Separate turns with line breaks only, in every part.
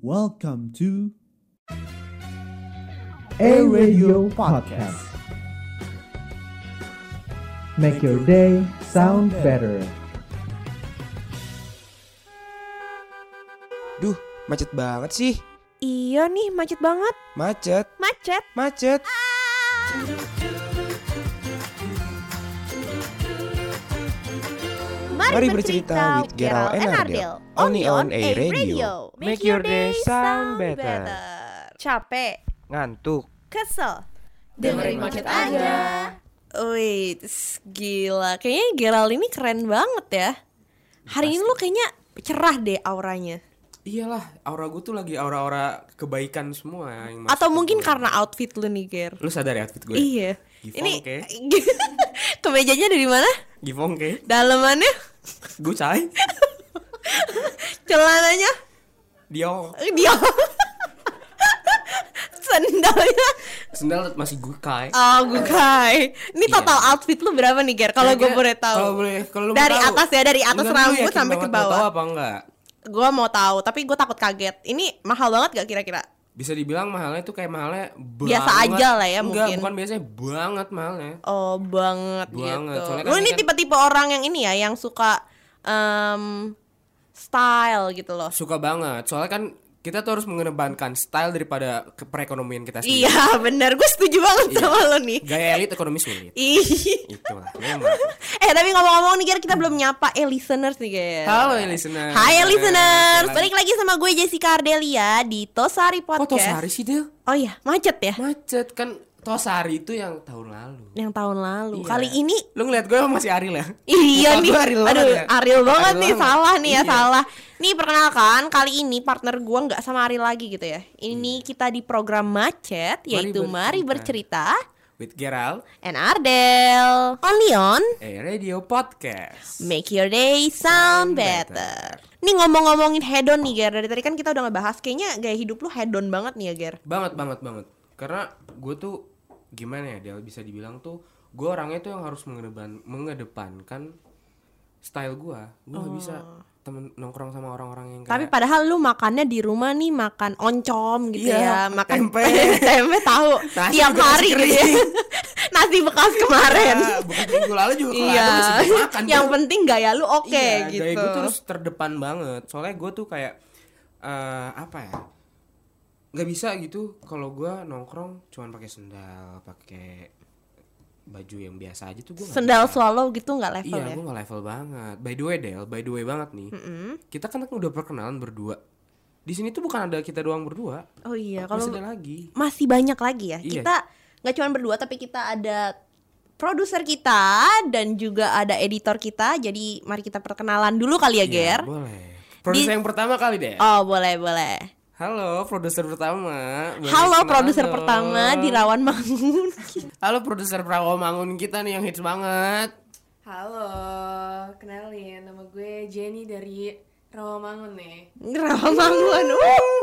Welcome to
A Radio Podcast. Make your day sound better.
Duh, macet banget sih.
Iya nih, macet banget.
Macet,
Macet.
macet. Mari bercerita with Gerald and Ardel. Only on A Radio. Make your day sound better.
Capek,
Ngantuk.
kesel.
Dengerin macet aja.
Wih, gila. Kayaknya Gerald ini keren banget ya. Hari ini lu kayaknya cerah deh auranya.
Iyalah, aura gue tuh lagi aura-aura kebaikan semua yang masuk
Atau
ke
mungkin
gue.
karena outfit lu nih, Ger.
lu sadar ya outfit gue?
Iya.
Gifong,
Ini
oke.
kemejanya dari mana?
Gifong ke?
Dalamannya?
Gue cai.
Celananya?
Dio.
Dia. Sendalnya?
Sendal masih gue kai.
Oh, gue kai. Ini total outfit lu berapa nih, Ger? Kalau gue boleh tahu.
Iya. Kalau boleh, kalau lu mau
Dari
tahu.
atas ya, dari atas
Enggak, lu
rambut
yakin
sampai ke
banget mau
bawah.
Tahu apa enggak?
Gue mau tahu, tapi gue takut kaget. Ini mahal banget gak kira-kira?
Bisa dibilang mahalnya tuh kayak mahalnya
Biasa
banget.
aja lah ya
Enggak,
mungkin.
bukan biasanya banget mahalnya.
Oh, banget,
Banget,
gitu.
soalnya kan
Lu ini
kan-
tipe-tipe orang yang ini ya, yang suka em, style gitu loh.
Suka banget. Soalnya kan kita tuh harus mengedepankan style daripada ke- perekonomian kita sendiri.
Iya, bener. Gue setuju
Iya.
banget sama lo nih.
Gaya elit ekonomi sulit.
Ih.
Itulah memang.
eh, tapi ngomong-ngomong nih, Ger, kita belum nyapa eh listeners nih, Ger.
Halo eh, listener.
Hai eh, listeners,
Balik
balik lagi sama gue Jessica Ardelia di Tosari
Kok
Podcast.
Tosari sih Del?
Oh iya, macet ya
Macet kan Tosari itu yang tahun lalu.
yang tahun lalu.
Iya.
Kali ini
Lu ngeliat gue masih Ariel ya?
Iya
Muka
nih,
gua Ariel
aduh,
banget ya?
Ariel banget
Ariel
nih,
banget.
salah nih ya,
Iya.
salah. Nih perkenalkan, kali ini partner gua nggak sama Ariel lagi gitu ya. Ini
Iya.
kita di program macet, yaitu Mari Bercerita,
With Gerald,
and Ardel, only on
eh Radio Podcast.
Make Your Day Sound Better. Nih ngomong-ngomongin hedon nih Ger, dari tadi kan kita udah ngebahas, kayaknya gaya hidup lu hedon banget nih ya Ger.
Banget banget banget. Karena gue tuh gimana ya Del bisa dibilang tuh gue orangnya tuh yang harus mengedepan, mengedepankan style gue. Gue nggak bisa temen nongkrong sama orang-orang yang
Oh. Tapi
kayak
padahal lu makannya di rumah nih makan oncom gitu
Iya,
ya, makan
tempe.
tempe tahu
Nasi
tiap
bekas
hari gitu ya. Nasi bekas kemarin.
Ya, bukan minggu lalu juga kalau
Iya.
ada masih gua makan
Yang
Del.
penting gaya lu oke
iya,
gitu.
Gaya gue tuh harus terdepan banget. Soalnya gue tuh kayak eh apa ya? Gak bisa gitu kalau gue nongkrong cuman pakai sendal, pakai baju yang biasa aja tuh gue.
Sendal swallow gitu nggak level
Iya,
ya.
gue gak level banget. By the way, Del, by the way banget nih. Kita kan udah perkenalan berdua. Di sini tuh bukan ada kita doang berdua.
Oh iya,
Kalau
kalau
ada lagi.
masih banyak lagi ya.
Iya.
Kita nggak cuma berdua tapi kita ada produser kita dan juga ada editor kita. Jadi mari kita perkenalan dulu kali ya,
Iya,
Ger.
boleh. Produser yang pertama kali deh.
Oh, boleh, boleh.
Halo, produser pertama. Boleh
Halo
kenalan
produser
dong.
pertama di Rawan Mangun.
Halo produser Prawo Mangun kita nih yang hits banget.
Halo, kenalin nama gue Jenny dari Rawamangun nih.
Rawan Mangun. Uh.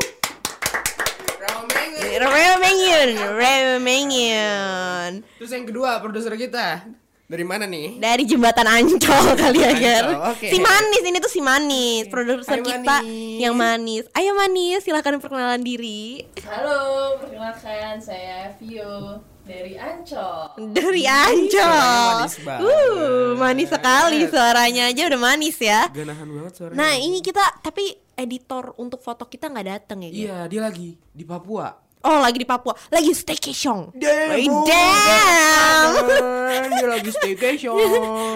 Prawo Mangun.
Rawan Mangun, Rawan Mangun.
Terus yang kedua produser kita dari mana nih?
Dari jembatan Ancol kali ya, Ger.
Ancol, oke.
Si Manis ini tuh si Manis, produser
Hai,
kita
Manis.
yang manis. Ayo Manis, silahkan perkenalan diri.
Halo, perkenalkan saya Vio dari Ancol.
Dari Ancol.
manis banget.
Uh, manis sekali suaranya aja udah manis ya.
Ganahan banget suaranya.
Nah, ini kita tapi editor untuk foto kita nggak dateng ya, Ger?
Iya, dia lagi di Papua.
Oh, lagi di Papua. Lagi staycation.
Damn.
Damn.
dia lagi staycation.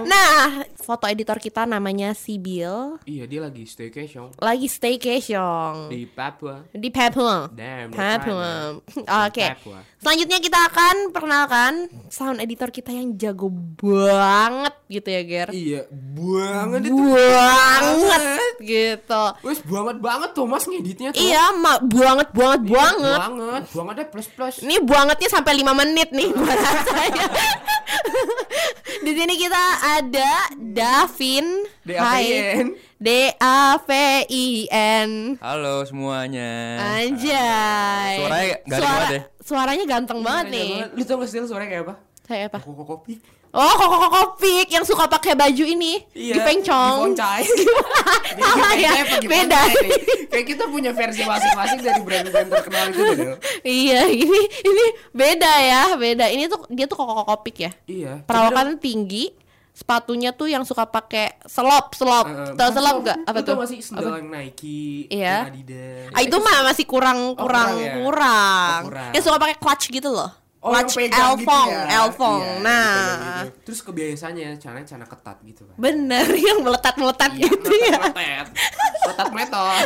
Nah, foto editor kita namanya Sibil.
iya, dia lagi staycation
Lagi staycation.
di Papua.
di Papua.
Damn,
Papua. Oke.
Papua.
Selanjutnya kita akan perkenalkan sound editor kita yang jago banget gitu ya, Ger.
Iya, banget itu.
Banget gitu.
Wes banget banget Thomas ngeditnya tuh.
Iya, ma- banget banget banget.
Banget, bangetnya plus plus.
Ini bangetnya sampai 5 menit nih gua rasanya. Di sini kita ada Davin.
D-A-V-I-N.
D A V I N.
Halo semuanya.
Anjay.
Suaranya garing banget ya.
Suaranya ganteng banget Nah, nih.
Lu tau gak sih suaranya kayak apa?
Kayak apa?
Koko kopi.
Oh, kok kok kopik yang suka pakai baju ini di pengcong.
diponcai. Iya, Jadi
Salah ya,
kayaknya pakai
beda.
poncai nih. Iya, Kayak kita punya versi masing-masing dari brand-brand terkenal gitu itu Del.
iya, ini ini beda ya, beda. Ini tuh dia tuh kok kok kopik ya.
Iya.
Perawakannya tinggi, sepatunya tuh yang suka pakai selop, selop.
Eh,
Tahu selop gak? Apa tuh?
masih sendal yang Nike,
Iya.
yang Adidas.
Ah, itu mah masih kurang
Oh,
kurang
kurang ya?
kurang.
Oh, kurang.
Dia suka pakai clutch gitu loh.
Oh, yang
clutch
pegang gitu
Elfong,
ya.
Elfong.
Iya,
nah,
yang pegang gitu. Terus kebiasaannya celana-celana ketat gitu kan.
bener yang meletat-meletat
Iya,
gitu ya.
Meletet. Meletet meletot.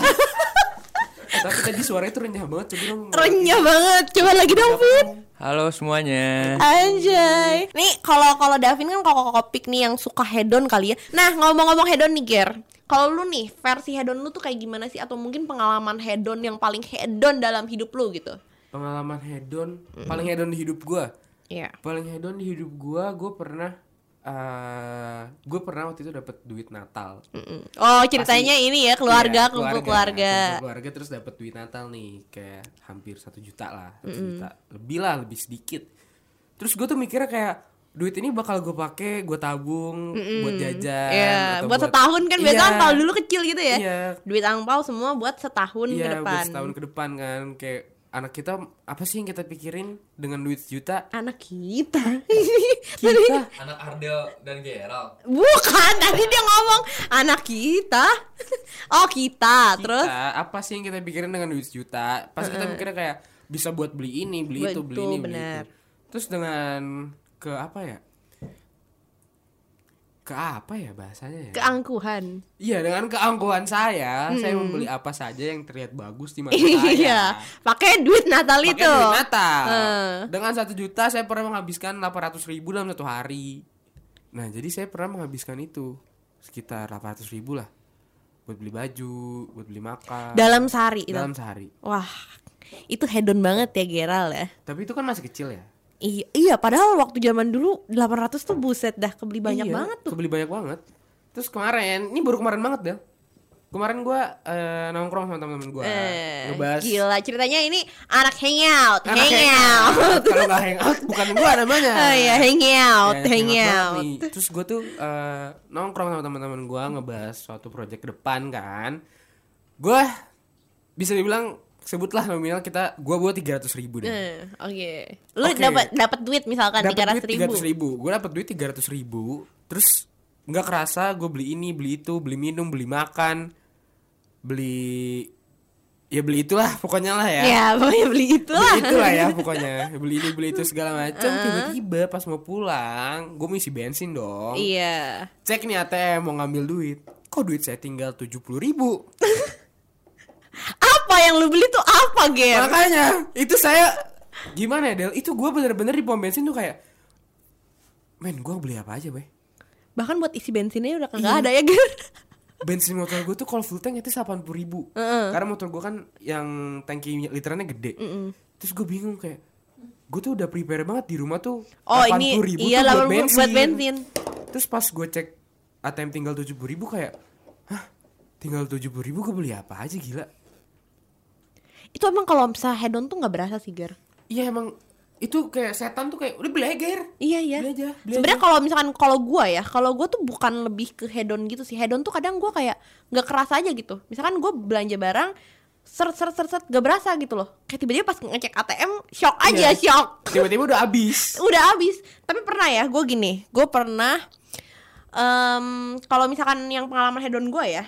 Eh, Tapi tadi suaranya tuh renyah banget coba dong.
Renyah banget. Coba
Iya,
lagi dong, Vin.
Halo semuanya.
Anjay. Nih kalau kalau Davin kan kok kopik nih yang suka hedon kali ya. Nah, ngomong-ngomong hedon nih, Ger. Kalau lu nih, versi hedon lu tuh kayak gimana sih atau mungkin pengalaman hedon yang paling hedon dalam hidup lu gitu?
Pengalaman hedon, paling hedon di hidup gua.
Iya.
Paling hedon di hidup gua, gua pernah eh gue pernah waktu itu dapat duit Natal.
Mm-mm. Oh, ceritanya ini ya keluarga,
Iya,
kumpul keluarga.
kumpul keluarga terus dapat duit Natal nih kayak hampir satu juta lah satu juta lebih lah lebih sedikit terus gue tuh mikirnya kayak duit ini bakal gue pakai gue tabung buat jajan
Iya,
atau
buat setahun kan biasanya
Iya,
angpau dulu kecil gitu ya.
Iya.
Duit angpau semua buat setahun
iya
ke depan.
buat setahun ke depan kan kayak anak kita apa sih yang kita pikirin dengan duit sejuta
Anak kita.
kita
Anak Ardel dan Gerald.
Bukan, tadi dia ngomong anak kita. Oh, kita. Terus
kita, apa sih yang kita pikirin dengan duit sejuta pasti kita pikirnya kayak bisa buat beli ini beli itu beli
Betul,
ini beli
benar.
itu terus dengan ke apa ya ke apa ya bahasanya ya
keangkuhan.
iya dengan keangkuhan saya saya membeli apa saja yang terlihat bagus di mata saya
Hmm. Iya, pakai duit Natal
Pakai
itu.
duit Natal Ah.
Eh.
dengan satu juta saya pernah menghabiskan 800.000 ribu dalam satu hari nah jadi saya pernah menghabiskan itu sekitar 800.000 ribu lah buat beli baju buat beli makan
Dalam sehari itu.
dalam sehari
Wah, itu hedon banget ya Geral ya.
Tapi itu kan masih kecil ya.
Iya, iya, padahal waktu zaman dulu 800 tuh buset dah kebeli banyak
Iya,
banget tuh.
Kebeli banyak banget. Terus kemarin, ini baru kemarin banget Del. Kemarin gua eh, nongkrong sama teman-teman gua,
Eh,
ngebahas
gila ceritanya ini anak hangout,
Anak
hangout.
hangout. Kalau nggak hangout bukan gua namanya.
Oh iya, hangout,
Ya, hangout
hangout.
banget nih. Terus gua tuh eh, nongkrong sama teman-teman gua ngebahas suatu project ke depan kan. Gua bisa dibilang sebutlah nominal kita gua buat 300.000 ribu deh.
Eh, Oke. Lu
Oke.
dapat dapat duit misalkan tiga ratus
dapat duit tiga
ribu.
ribu gue dapat duit tiga ratus ribu terus nggak kerasa gue beli ini beli itu beli minum beli makan beli ya beli itulah pokoknya lah ya
Ya, pokoknya beli itulah.
beli itulah ya pokoknya beli ini beli itu segala macam
Ah.
tiba-tiba pas mau pulang gue mau isi bensin dong
Iya.
cek nih ATM mau ngambil duit kok duit saya tinggal tujuh puluh ribu
Apa yang lu beli tuh apa, Ger?
Makanya itu saya gimana ya Del? Itu gue bener-bener di pom bensin tuh kayak, men gue beli apa aja, weh?
Bahkan buat isi bensinnya udah kagak ada ya, Ger.
bensin motor gue tuh kalau full tank itu delapan puluh ribu karena motor gue kan yang tangki literannya gede terus gue bingung kayak gue tuh udah prepare banget di rumah tuh
Oh, ini-
ribu
iya, 80.000 buat bensin.
terus pas gue cek ATM tinggal tujuh puluh ribu kayak hah tinggal tujuh puluh ribu gue beli apa aja gila
Itu emang kalau misalnya hedon tuh nggak berasa sih, Ger.
iya emang itu kayak setan tuh kayak udah beli aja Ger."
Iya iya.
Beli aja, beli
Sebenarnya kalau misalkan kalau gua ya, kalau gua tuh bukan lebih ke hedon gitu sih. Hedon tuh kadang gua kayak nggak kerasa aja gitu. Misalkan gua belanja barang seret seret seret seret gak berasa gitu loh. Kayak tiba-tiba pas ngecek ATM shock aja,
Iya.
shock.
tiba-tiba udah habis
Udah habis. Tapi pernah ya gua gini, gua pernah em kalau misalkan yang pengalaman hedon gua ya,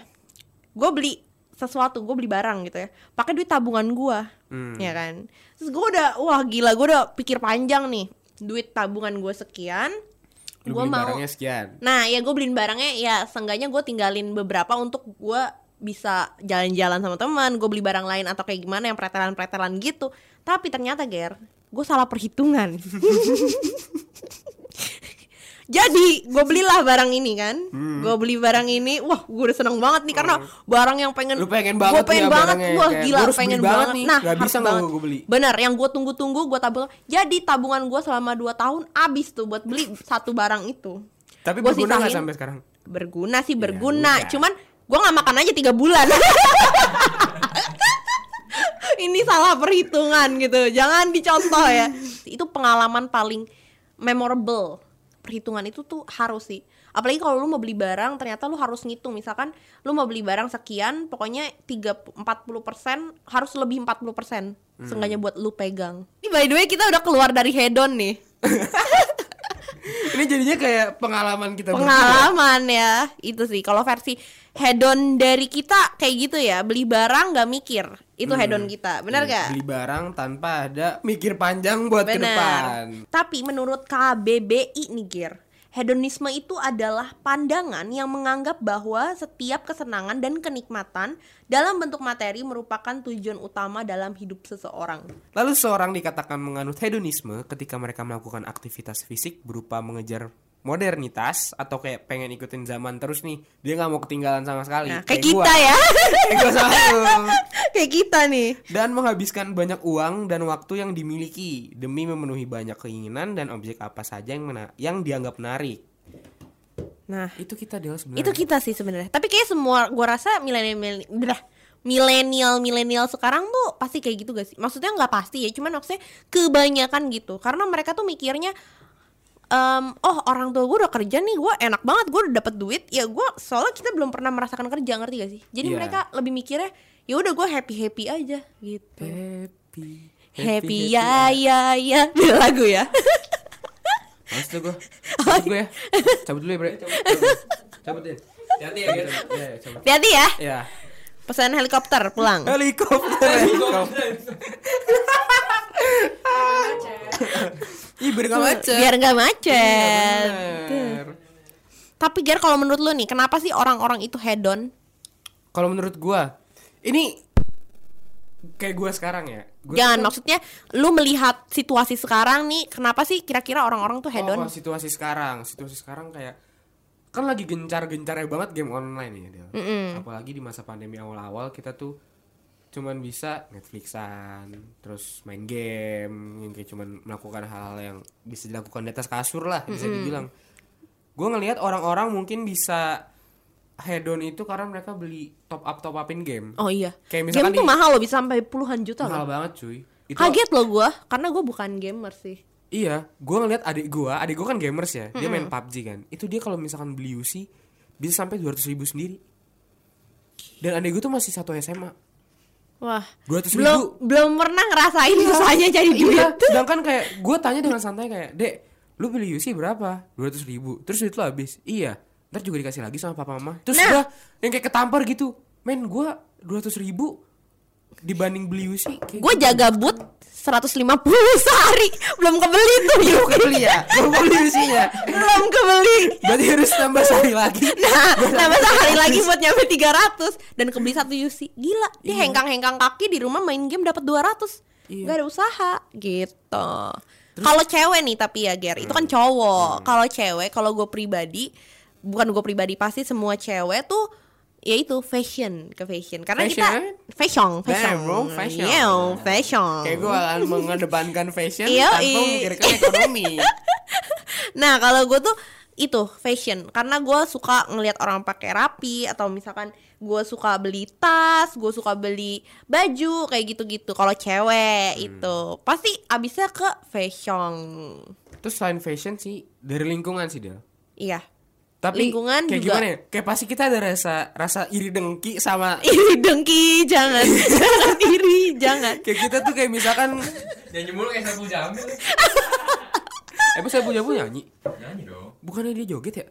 gua beli sesuatu, gua beli barang gitu ya. Pakai duit tabungan gua.
Hmm.
Ya kan? Terus gua udah wah gila, gua udah pikir panjang nih. Duit tabungan gua sekian.
lu
Gua
beli
mau
barangnya sekian
Nah, ya gue beliin barangnya ya seenggaknya gue tinggalin beberapa untuk gue bisa jalan-jalan sama teman, gue beli barang lain atau kayak gimana yang pretelan-pretelan gitu. Tapi ternyata Ger, gue salah perhitungan. Jadi gue belilah barang ini kan,
Hmm.
gue beli barang ini, wah gue udah seneng banget nih karena barang yang pengen,
Oh. Lu pengen
gue
banget
pengen
nih ya
banget,
barangnya,
wah
kayak,
gila
gua harus
pengen
beli banget
banget,
nih,
nah
nggak
harus
bisa nggak
banget,
gua beli?
bener yang gue tunggu-tunggu gue tabung, jadi tabungan gue selama 2 tahun abis tuh buat beli satu barang itu,
tapi
Gua
berguna nggak
sisain.
sampai sekarang
berguna sih
Iya,
berguna
udah.
cuman gua nggak makan aja tiga bulan ini salah perhitungan gitu jangan dicontoh ya itu pengalaman paling memorable perhitungan itu tuh harus sih apalagi kalau lu mau beli barang ternyata lu harus ngitung misalkan lu mau beli barang sekian pokoknya 3 40% harus lebih 40% persen seenggaknya buat lu pegang Hmm. ini by the way kita udah keluar dari hedon nih
Ini jadinya kayak pengalaman kita berdua.
pengalaman ya itu sih kalau versi hedon dari kita kayak gitu ya beli barang nggak mikir itu hedon kita benar
Hmm. Iya,
gak
Beli barang tanpa ada mikir panjang buat ke depan.
Tapi menurut KBBI nih Gir, hedonisme itu adalah pandangan yang menganggap bahwa setiap kesenangan dan kenikmatan dalam bentuk materi merupakan tujuan utama dalam hidup seseorang.
Lalu seorang dikatakan menganut hedonisme ketika mereka melakukan aktivitas fisik berupa mengejar modernitas atau kayak pengen ikutin zaman terus nih dia nggak mau ketinggalan sama sekali
Nah, kayak kita ya.
kayak gua sama lu.
kayak kita nih.
dan menghabiskan banyak uang dan waktu yang dimiliki demi memenuhi banyak keinginan dan objek apa saja yang mena- yang dianggap menarik
Nah,
itu kita Del
itu
sebenarnya
kita sih sebenarnya. Tapi kayak semua gua rasa milenial milenial milenial sekarang tuh pasti kayak gitu gak sih? Maksudnya nggak pasti ya, cuman maksudnya kebanyakan gitu. Karena mereka tuh mikirnya em, oh orang tua gue udah kerja nih, gue enak banget, gue udah dapet duit. Ya gue soalnya kita belum pernah merasakan kerja ngerti gak sih? Jadi
Iya.
mereka lebih mikirnya ya udah gue happy happy aja gitu.
happy
Happy, ya ya ya Ada lagu ya.
Males tuh gue Cabut gue ya Cabut dulu ya bre Cabut. Cabut deh
Hati-hati ya gitu.
Ya ya, cabut
Jadi ya
Ya
pesan helikopter pulang.
Eh, Helikopter Helikopter Ih biar gak macet Iya,
Biar nggak macet.
Bener.
Tapi Ger kalau menurut lu nih kenapa sih orang-orang itu hedon?
Kalau menurut gua Ini Kayak gua sekarang ya Gua
Jangan
tuh-
maksudnya lu melihat situasi sekarang nih kenapa sih kira-kira orang-orang tuh hedon?
Oh, oh, situasi sekarang Situasi sekarang kayak Kan lagi gencar-gencarnya banget game online ya Del Apalagi di masa pandemi awal-awal kita tuh Cuman bisa Netflixan Terus main game Yang kayak cuman melakukan hal-hal yang Bisa dilakukan di atas kasur lah Bisa dibilang Gue ngelihat orang-orang mungkin bisa Hedon itu karena mereka beli top up top upin game.
Oh iya. game
Kayak misalkan
tuh
di-
mahal loh bisa sampai puluhan juta
Mahal
loh.
banget cuy. Itu
Kaget loh gua karena gua bukan gamer sih.
Iya, gue ngeliat adik gue, adik gue kan gamers ya, dia main PUBG kan. Itu dia kalau misalkan beli UC bisa sampai 200 ribu sendiri. Dan adik gue tuh masih satu SMA.
Wah.
200
belum
ribu.
belum pernah ngerasain susahnya jadi duit.
Iya, sedangkan kayak gue tanya dengan santai kayak, dek, lu beli UC berapa? 200 ribu. Terus duit lu habis. Iya. Ntar juga dikasih lagi sama papa mama. Terus
Nah.
udah yang kayak ketampar gitu. Men gue 200 ribu dibanding beli UC. Kayak gitu.
Gua jaga boot 150 sehari belum kebeli tuh
Belum kebeli ya? Belum kebeli UC-nya.
belum kebeli.
Berarti harus tambah sehari lagi.
Nah, tambah sehari lagi buat nyampe 300 dan kebeli satu UC. Gila, dia hengkang-hengkang kaki di rumah main game dapat 200.
Iya.
Gak ada usaha gitu. Kalau cewek nih tapi ya Ger, itu kan cowok.
Hmm.
Kalau cewek, kalau gue pribadi, bukan gue pribadi pasti semua cewek tuh yaitu fashion ke fashion karena
Fashion?
kita fashion fashion
Damn, bro, fashion.
Iya, fashion
Kayak gue akan mengedepankan fashion
Yoi.
tanpa memikirkan ekonomi.
Nah kalau gue tuh itu fashion karena gue suka ngelihat orang pakai rapi atau misalkan gue suka beli tas gue suka beli baju kayak gitu-gitu kalau
Hmm.
cewek itu pasti abisnya ke fashion
Terus selain fashion sih dari lingkungan sih Del.
iya
Tapi
Lingkungan
kayak
juga.
gimana ya? Kayak pasti kita ada rasa rasa iri dengki sama
iri dengki jangan jangan iri jangan
kayak kita tuh kayak misalkan
Nyanyi mulu kayak sapu jamil.
emang saya punya punya nyanyi
Nyanyi dong.
bukannya dia joget ya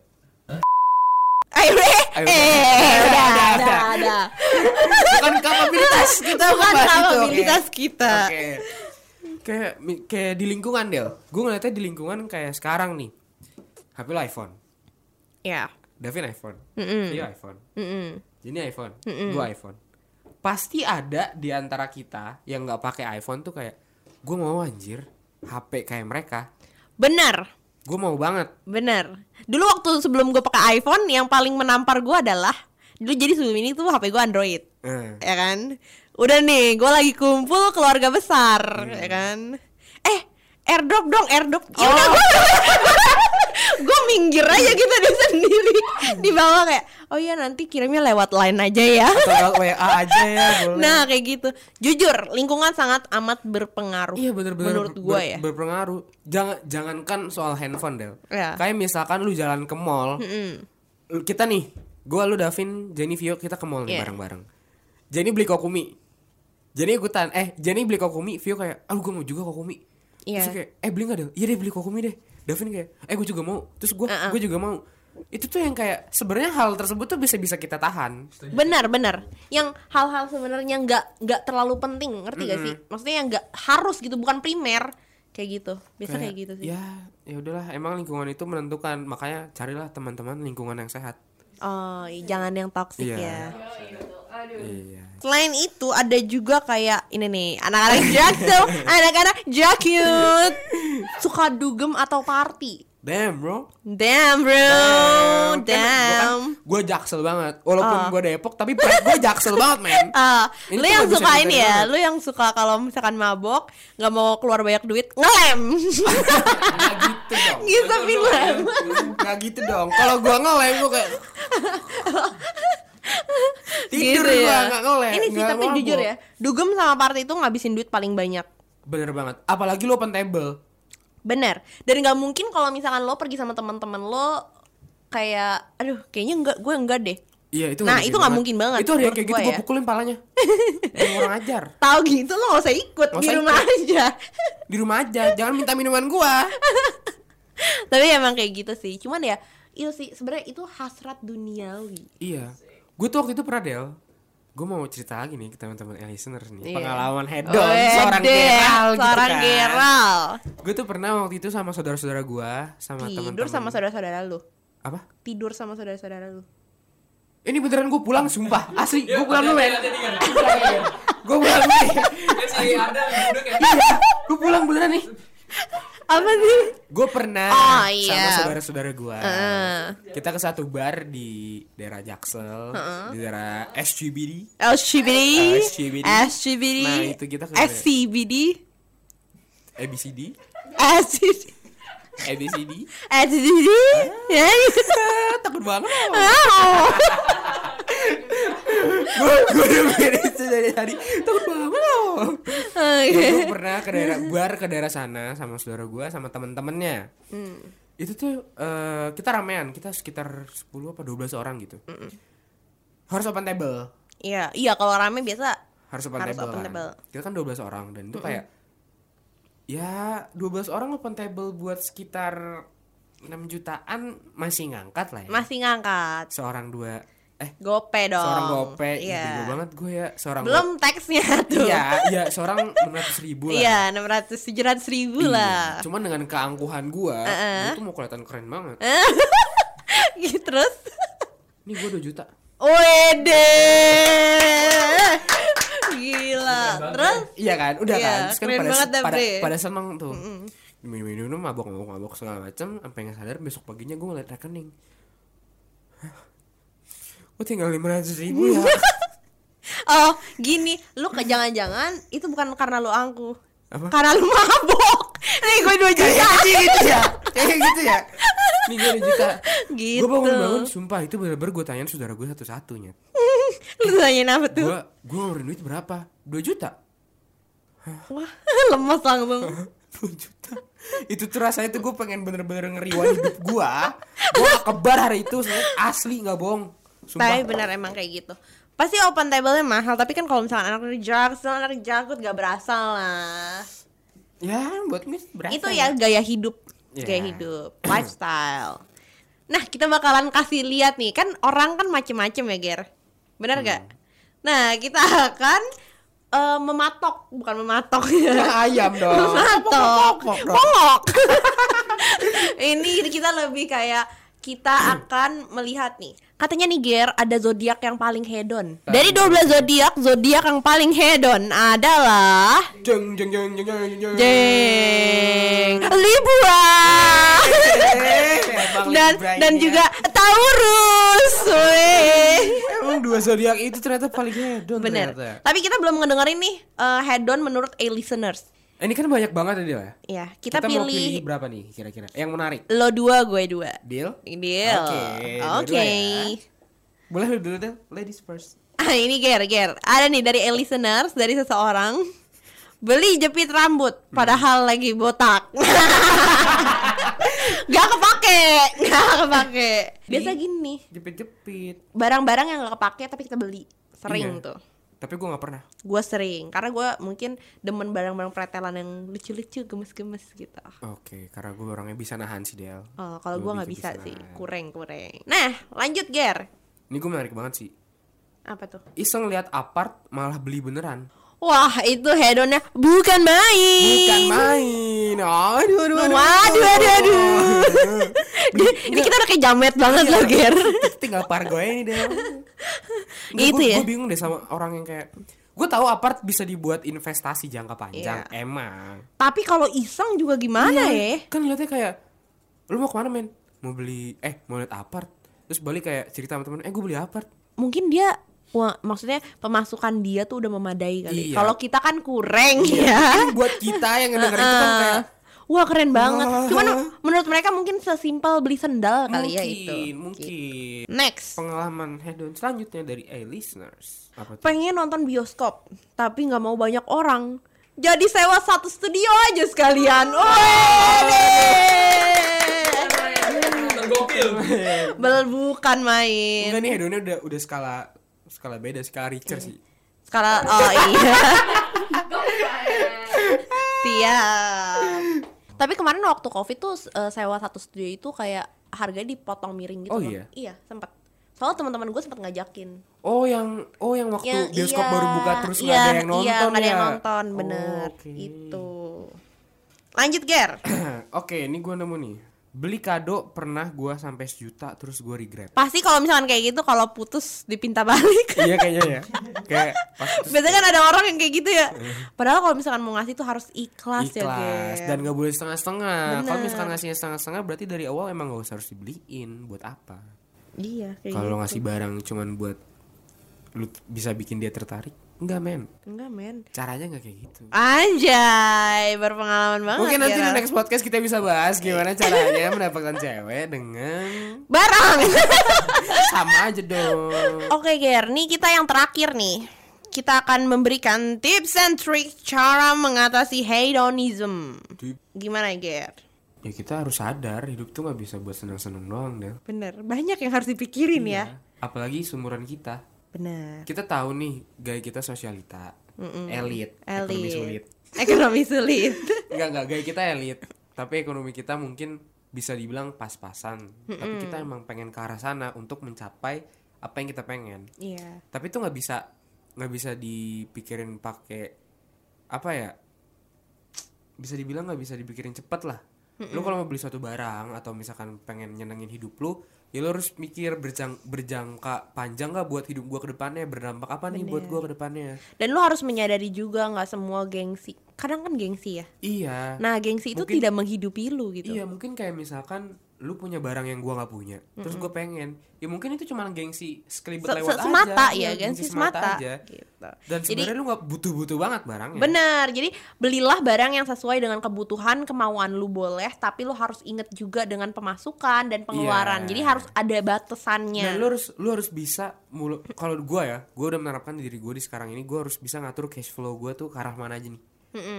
ayo eh eh,
Ayo, udah,
udah
udah,
udah gitu kan,
udah.
udah
bukan kapabilitas kita
bukan
membahas itu, oke?
kapabilitas kita
Oke. Kayak mi- kayak di lingkungan Del. Gue ngeliatnya di lingkungan kayak sekarang nih. HP lu iPhone.
ya
Davin iPhone.
Mm-mm.
Iya iPhone.
Mm-mm.
Jadi iPhone, gua iPhone. Pasti ada di antara kita yang nggak pakai iPhone tuh kayak gua mau anjir HP kayak mereka.
benar
Gua mau banget.
Bener. Dulu waktu sebelum gue pakai iPhone, yang paling menampar gue adalah dulu jadi sebelum ini tuh HP gue Android,
Eh,
ya kan? Udah nih, gue lagi kumpul keluarga besar,
Hmm. Oh.
ya kan? Eh, airdrop dong, airdrop. Ya udah gue gue minggir aja gitu dia sendiri di bawah kayak oh iya nanti kirimnya lewat line aja ya
Atau WA aja ya boleh.
nah kayak gitu jujur lingkungan sangat amat berpengaruh
Iya bener-bener
menurut
ber-
gue
ber-
ya
berpengaruh. Jangan jangankan soal handphone Del.
Iya.
Kayak misalkan lu jalan ke mall, Lu- kita nih, gua lu Davin, Jenny Vio kita ke mall nih
Iya.
bareng-bareng. Jenny beli kokumi. Jenny ikutan, eh Jenny beli kokumi, Vio kayak, ah gue mau juga kokumi.
Iya.
Terus kayak, eh beli nggak Del? Iya deh beli kokumi deh. Davin kayak, eh gue juga mau. Terus gue,
Uh-uh.
gue juga mau. Itu tuh yang kayak sebenarnya hal tersebut tuh bisa bisa kita tahan.
benar benar yang hal-hal sebenarnya nggak nggak terlalu penting ngerti gak sih maksudnya yang nggak harus gitu bukan primer kayak gitu biasa kayak, gitu sih
Ya, ya udahlah. Emang lingkungan itu menentukan. Makanya carilah teman-teman lingkungan yang sehat.
oh i- jangan yang toksik
Iya.
ya
Yo, itu. Aduh.
Iya.
selain itu ada juga kayak ini nih anak-anak jaksel anak-anak jakut suka dugem atau party
Damn bro.
damn bro Oh,
Kan
damn
Gue jaksel banget. Walaupun
Ah.
gue Depok, tapi pride gue jaksel banget men.
Ah, lu
Ini tuh
yang
nggak bisa
suka ini
dipelajari
ya,
banget.
lu yang suka kalau misalkan mabok nggak mau keluar banyak duit ngelem,
Gak gitu dong.
ngisepin lem.
Gak gitu dong. Kalau gue ngelem gue kayak
Gitu
Tidur gua
ya.
nggak ngelem,
Ini sih
nggak
tapi
mabok.
jujur ya, dugem sama party itu ngabisin duit paling banyak.
bener banget. Apalagi lo open table.
Bener. Dan nggak mungkin kalau misalkan lo pergi sama teman-teman lo kayak, aduh, kayaknya nggak, gue enggak deh.
Iya itu.
Nah, itu nggak mungkin banget,
Itu ada yang
menurut
kayak
gua
gitu gue
ya.
pukulin palanya. Yang orang ajar.
Tahu gitu lo nggak usah ikut
Nggak
di
usah
rumah aja.
Di rumah aja. Jangan minta minuman gue.
tapi emang kayak gitu sih. Cuman ya itu sih sebenarnya itu hasrat duniawi.
Iya. Gue tuh waktu itu pernah Del. Gue mau cerita lagi nih ke teman-teman yang listeners nih.
Iya.
Pengalaman hedon
Wede,
seorang Geral gitu
seorang
kan.
Geral.
Gue tuh pernah waktu itu sama saudara-saudara gue, sama teman-teman.
Tidur sama saudara-saudara lu.
Apa?
Tidur sama saudara-saudara lu.
Ini beneran gue pulang sumpah. Asli, gue pulang dulu, men.
Kan
Gue pulang dulu.
si Arda yang duduk ya.
Gue pulang beneran nih.
Apa sih?
Gue pernah
Oh, iya.
sama saudara-saudara gue.
Heeh.
Kita ke satu bar di daerah Jaksel, di daerah SGBD.
LCBD,
LCBD.
SCBD,
Nah, itu kita ke-
SCBD,
ABCD,
SCBD,
ABCD.
SCBD, ya gitu.
Eh, Takut banget. lo. Ah.
Wow.
gue gue udah beres tuh dari tadi takut banget loh
Oke.
gue pernah ke daerah bar ke daerah sana sama saudara gue sama temen-temennya
Hmm.
itu tuh eh, kita ramean kita sekitar 10 apa 12 orang gitu harus open table
Iya, iya kalau rame biasa
harus open
Harus
table,
open
kan.
table.
kita kan 12 orang dan itu kayak ya 12 orang open table buat sekitar 6 jutaan masih ngangkat lah ya
masih ngangkat.
seorang dua eh
Gope dong.
seorang gope Ih,
Oh, Iya.
bego banget gue ya seorang
Belum teksnya tuh.
Iya, iya seorang 600 ribu lah.
Iya, 600 700 ribu
Iya,
lah. Eh,
Cuman dengan keangkuhan gua, gua tuh mau kelihatan keren banget.
Gitu, Terus
Nih gua 2 juta.
Wede. Gila. Terus
Iya kan, udah
Iya,
kan. Terus kan
keren
pada
banget dah,
pada,
Bre.
pada seneng tuh. Minum-minum mabok-mabok segala macam, sampai nggak sadar besok paginya gua ngeliat rekening. Hah? Gua tinggal 500 ribu ya.
oh, gini, lu ke jangan-jangan itu bukan karena lu angkuh.
Apa?
Karena lu mabok. Nih gue 2 juta.
Kayak gitu ya. Kayak gitu ya. Nih gua 2 juta.
Gitu.
Gua bangun-bangun sumpah itu bener-bener gua tanyain saudara gua satu-satunya.
Lu tanyain apa tuh?
Gua gua ngeluarin duit berapa? 2 juta.
Wah, lemes langsung.
10 juta itu tuh rasanya tuh gue pengen bener-bener ngeriwan hidup gue gue kebar hari itu sebenarnya asli nggak bohong
Tapi
sumpah
benar emang kayak gitu. Pasti open table-nya mahal, tapi kan kalau misalkan anak dari Jaksel, anak dari Jakut gak berasa lah.
ya buat miss berasa
Itu ya gaya hidup,
Ya.
gaya hidup, lifestyle. Nah, kita bakalan kasih lihat nih, kan orang kan macem-macem ya, Ger. Bener gak?
Hmm.
Nah, kita akan eh, mematok, bukan mematok ya.
ayam dong
Mematok.
Pok, pok, pok.
Pongok. Ini kita lebih kayak
Hmm.
kita akan melihat nih. Katanya nih Ger ada zodiak yang paling hedon. Dari 12 zodiak, zodiak yang paling hedon adalah
jeng jeng jeng jeng jeng jeng
Jeng Libra
Eh, emang
dan
Libra
dan
ini ya.
juga Taurus. Weh.
emang dua zodiak itu ternyata ya. paling hedon
Bener.
ternyata
Tapi kita belum ngedengerin nih eh, head on menurut a listeners.
Ini kan banyak banget ya Dil ya.
Ya, kita,
mau
pilih
berapa nih kira-kira? Yang menarik.
lo dua, gue dua.
Deal?
Deal.
Oke, dua-dua
Oke.
ya. Boleh lu dulu Dil, ladies first.
Ah ini ger ger. Ada nih dari a listeners dari seseorang beli jepit rambut
Hmm.
padahal lagi botak. gak kepake, gak kepake. Biasa gini,
Jepit-jepit.
barang-barang yang gak kepake tapi kita beli sering
Iya.
tuh.
Tapi gua nggak pernah.
Gue sering karena gue mungkin demen barang-barang pretelan yang lucu-lucu, gemes-gemes gitu.
Oke, karena gue orangnya bisa nahan sih Del.
Oh, kalau
Lu
gue nggak bisa
bisa-bisa
sih,
aja.
kurang-kurang. Nah, lanjut ger.
Ini gue menarik banget sih.
Apa tuh?
Iseng lihat apart malah beli beneran.
Wah, itu hedonnya bukan main.
Bukan main. Aduh, aduh, aduh.
Waduh, aduh, aduh. Dia- ini kita udah kayak jamet banget loh, Ger.
Tinggal pargo aja nih Del.
Gitu ya?
Gue bingung deh sama orang yang kayak Gue tahu apart bisa dibuat investasi jangka panjang, emang.
Tapi kalau iseng juga gimana Iya. ya?
kan liatnya kayak lu mau kemana men mau beli eh mau lihat apart terus balik kayak cerita sama temen eh gue beli apart
Mungkin dia wah, maksudnya pemasukan dia tuh udah memadai kali.
Iya.
Kalau kita kan kurang ya.
Ini buat kita yang ngedenger itu kan
Heeh.
kayak
Wah keren banget.
Wah.
Cuman menurut mereka mungkin sesimpel beli sendal kali ya itu.
mungkin mungkin
Next,
pengalaman hedon selanjutnya dari a listeners apa tuh
pengen nonton bioskop tapi nggak mau banyak orang. Jadi sewa satu studio aja sekalian.
Oh.
Wede.
Tergokil.
Bel bukan main.
enggak nih hedonnya udah udah skala skala beda skala richer sih
Skala oh iya. Siap. Tapi kemarin waktu Covid tuh eh, sewa satu studio itu kayak harganya dipotong miring gitu.
Oh
loh.
iya?
Iya, sempat. Soalnya teman-teman gue sempat ngajakin.
oh yang oh yang waktu
Yang-
bioskop
iya,
baru buka terus nggak
iya,
ada yang nonton
Iya, nggak ada
ya
yang nonton,
Oh,
bener. Gitu.
oke.
Itu. Lanjut, Ger.
oke ini gue nemu nih beli kado pernah gue sampai sejuta terus gue regret
Pasti kalau misalkan kayak gitu kalau putus dipinta balik.
iya kayaknya ya kayak pas itu
Biasanya kan ada orang yang kayak gitu ya. Padahal kalau misalkan mau ngasih tuh harus ikhlas, ya,
ikhlas
Ger.
dan nggak boleh setengah-setengah kalau
Bener.
misalkan ngasihnya setengah-setengah berarti dari awal emang nggak usah harus dibeliin buat apa
Iya, kayak
kalau
gitu.
ngasih barang cuman buat lu t- bisa bikin dia tertarik nggak men
Enggak men
caranya nggak kayak gitu
Anjay Berpengalaman banget
mungkin nanti
Gerald.
di next podcast kita bisa bahas gimana caranya mendapatkan cewek dengan
Barang
sama aja dong
Oke Ger Nih kita yang terakhir nih Kita akan memberikan tips and trick Cara mengatasi hedonism
Tip.
Gimana Ger?
ya kita harus sadar hidup tuh nggak bisa buat seneng-seneng doang deh
Bener Banyak yang harus dipikirin ya
Iya. apalagi seumuran kita
Bener
kita tahu nih gaya kita sosialita elit ekonomi sulit
Elit Ekonomi sulit
Enggak enggak gaya kita elit, tapi ekonomi kita mungkin bisa dibilang pas-pasan. Tapi kita emang pengen ke arah sana untuk mencapai apa yang kita pengen.
Iya
Tapi itu nggak bisa nggak bisa dipikirin pakai apa ya? Bisa dibilang nggak bisa dipikirin cepet lah. Lu kalau mau beli suatu barang atau misalkan pengen nyenengin hidup lu, ya lu harus mikir berjang, berjangka panjang nggak buat hidup gua ke depannya, berdampak apa nih buat gua ke depannya.
Dan lu harus menyadari juga nggak semua gengsi Kadang kan gengsi ya
Iya.
Nah gengsi itu
Mungkin-
tidak menghidupi lu gitu
Iya mungkin kayak misalkan lu punya barang yang gua nggak punya, terus gue pengen, ya mungkin itu cuma gengsi sekelibet
Se-
lewat
se- semata ya
aja, Iya,
gengsi semata,
aja.
gitu.
Dan
Jadi
sebenarnya iya. lu nggak butuh-butuh banget barangnya.
Benar. Jadi belilah barang yang sesuai dengan kebutuhan, kemauan lu boleh, tapi lu harus inget juga dengan pemasukan dan pengeluaran.
Iya.
Jadi harus ada batasannya.
Dan lu harus lu harus bisa mulu kalau gua ya, gua udah menerapkan di diri gua di sekarang ini gua harus bisa ngatur cash flow gua tuh ke arah mana aja nih.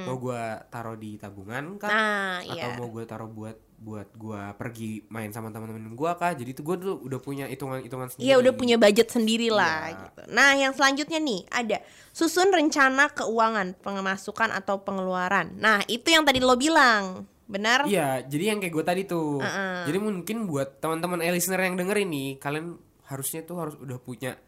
Mau gua taruh di tabungan kah?
Nah,
atau
iya.
mau gue taruh buat buat gua pergi main sama teman-teman gua kah? Jadi itu gua tuh udah punya hitungan-hitungan sendiri.
Iya udah punya budget sendiri lah
Hmm. Iya.
gitu. Nah yang selanjutnya nih ada susun rencana keuangan, pengemasukan atau pengeluaran. Nah itu yang tadi lo bilang, benar?
Iya, jadi yang kayak gue tadi tuh. Jadi mungkin buat teman-teman eh, listener yang dengerin nih, kalian harusnya tuh harus udah punya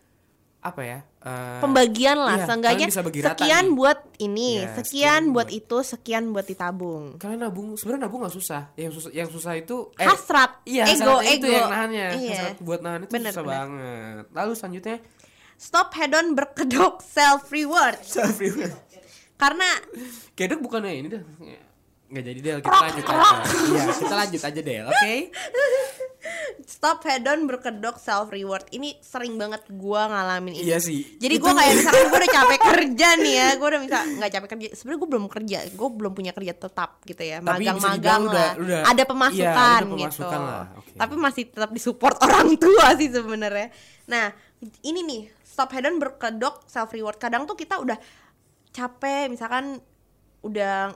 apa ya? eh,
Pembagian lah,
iya,
seenggaknya
kalian bisa bagi rata
sekian
nih.
buat ini,
Iya,
sekian
sekian
buat
buat-
itu, sekian buat ditabung.
Kalian nabung, sebenarnya nabung gak susah. Yang susah, yang susah itu eh,
Hasrat,
Iya,
ego,
hasratnya itu
ego.
yang nahannya.
Iya.
Hasrat buat nahan itu
Bener,
susah
bener.
banget. Lalu selanjutnya
Stop hedon berkedok self reward.
self reward.
Karena
Kedok bukannya ini dah. Nggak jadi Del, kita lanjut aja. Iya, kita lanjut aja Del, oke?
stop hedon berkedok self reward ini sering banget gua ngalamin ini
Iya sih.
jadi gua kayak misalkan gua udah capek kerja nih ya gua udah bisa nggak capek kerja sebenarnya gua belum kerja gua belum punya kerja tetap gitu ya
Tapi bisa
magang-magang
dibilang
lah
udah- udah-
ada pemasukan,
iya, ada pemasukan
gitu
lah, oke.
tapi masih tetap disupport orang tua sih sebenarnya nah ini nih stop hedon berkedok self reward kadang tuh kita udah capek misalkan udah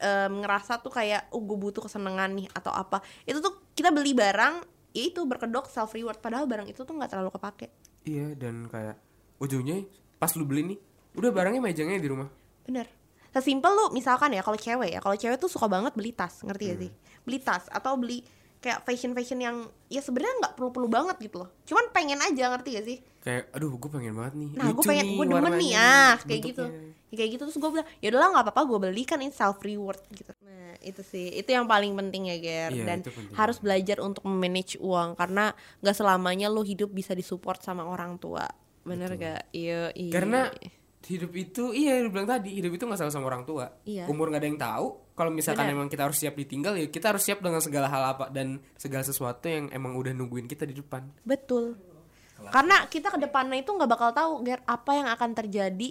em, ngerasa tuh kayak oh gue butuh kesenangan nih atau apa itu tuh kita beli barang ya itu berkedok self reward padahal barang itu tuh nggak terlalu kepake
Iya dan kayak ujungnya pas lu beli nih udah barangnya mejangnya di rumah.
Bener. Sesimpel lu misalkan ya kalau cewek ya, kalau cewek tuh suka banget beli tas, ngerti gak sih? Beli tas atau beli kayak fashion-fashion yang ya sebenarnya nggak perlu-perlu banget gitu loh. Cuman pengen aja, ngerti gak sih?
Kayak aduh gue pengen banget nih.
Nah, gue
Lucu
pengen gue demen
warnanya,
nih ah kayak gitu.
bentuknya.
Ya, kayak gitu terus gue bilang, ya udahlah nggak apa-apa gue beli kan ini self reward gitu. Nah, itu sih. Itu yang paling penting ya, Ger.
Iya,
Dan
itu penting.
harus belajar untuk memanage uang karena nggak selamanya lu hidup bisa disupport sama orang tua. Bener gak? Iya, iya.
Karena hidup itu iya lu bilang tadi hidup itu nggak selalu sama orang tua.
Iya.
Umur nggak ada yang tahu. Kalau misalkan
Benar.
emang kita harus siap ditinggal ya kita harus siap dengan segala hal apa dan segala sesuatu yang emang udah nungguin kita di depan.
Betul. Karena kita ke depannya itu nggak bakal tahu Ger apa yang akan terjadi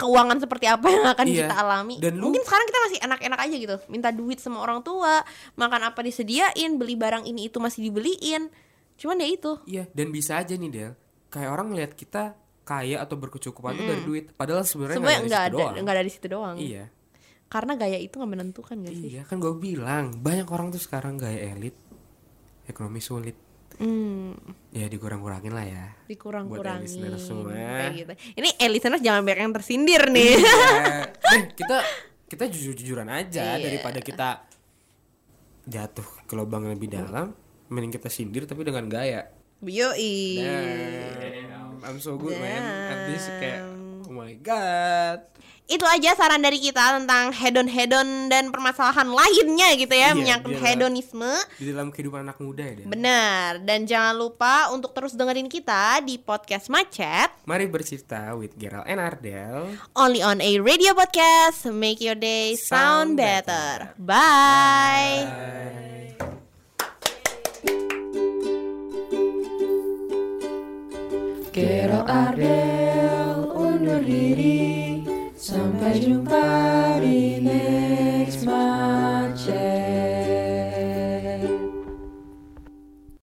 keuangan seperti apa yang akan
Iya.
kita alami.
Dan lu-
Mungkin sekarang kita masih enak-enak aja gitu, minta duit sama orang tua, makan apa disediain, beli barang ini itu masih dibeliin. Cuman ya itu.
Iya, dan bisa aja nih Del, kayak orang ngeliat kita kaya atau berkecukupan itu dari duit, padahal sebenarnya
Semuanya
nggak
nggak
dari
ada
situ doang.
nggak ada di situ doang.
Iya,
Karena gaya itu nggak menentukan gak sih?
iya kan gue bilang banyak orang tuh sekarang gaya elit, ekonomi sulit,
Hmm,
ya dikurang-kurangin lah ya. Buat
dikurang-kurangin.
listeners semua.
Kayak gitu. Ini eh, listeners jangan banyak yang tersindir nih.
Ya, eh, kita kita jujur-jujuran aja
Iya.
daripada kita jatuh ke lubang yang lebih dalam, mending kita sindir tapi dengan gaya.
Yoi.
Damn, I'm so good man, at least kayak oh my god.
itu aja saran dari kita tentang hedon-hedon dan permasalahan lainnya gitu ya
Iya,
menyangkut
biar-
hedonisme
Di dalam kehidupan anak muda ya Del.
benar dan jangan lupa untuk terus dengerin kita di podcast macet
Mari bercerita with Gerald and Ardel.
only on a radio podcast make your day sound
Sound
better
better.
bye.
Gerald Ardel undur diri Sampai jumpa di next macet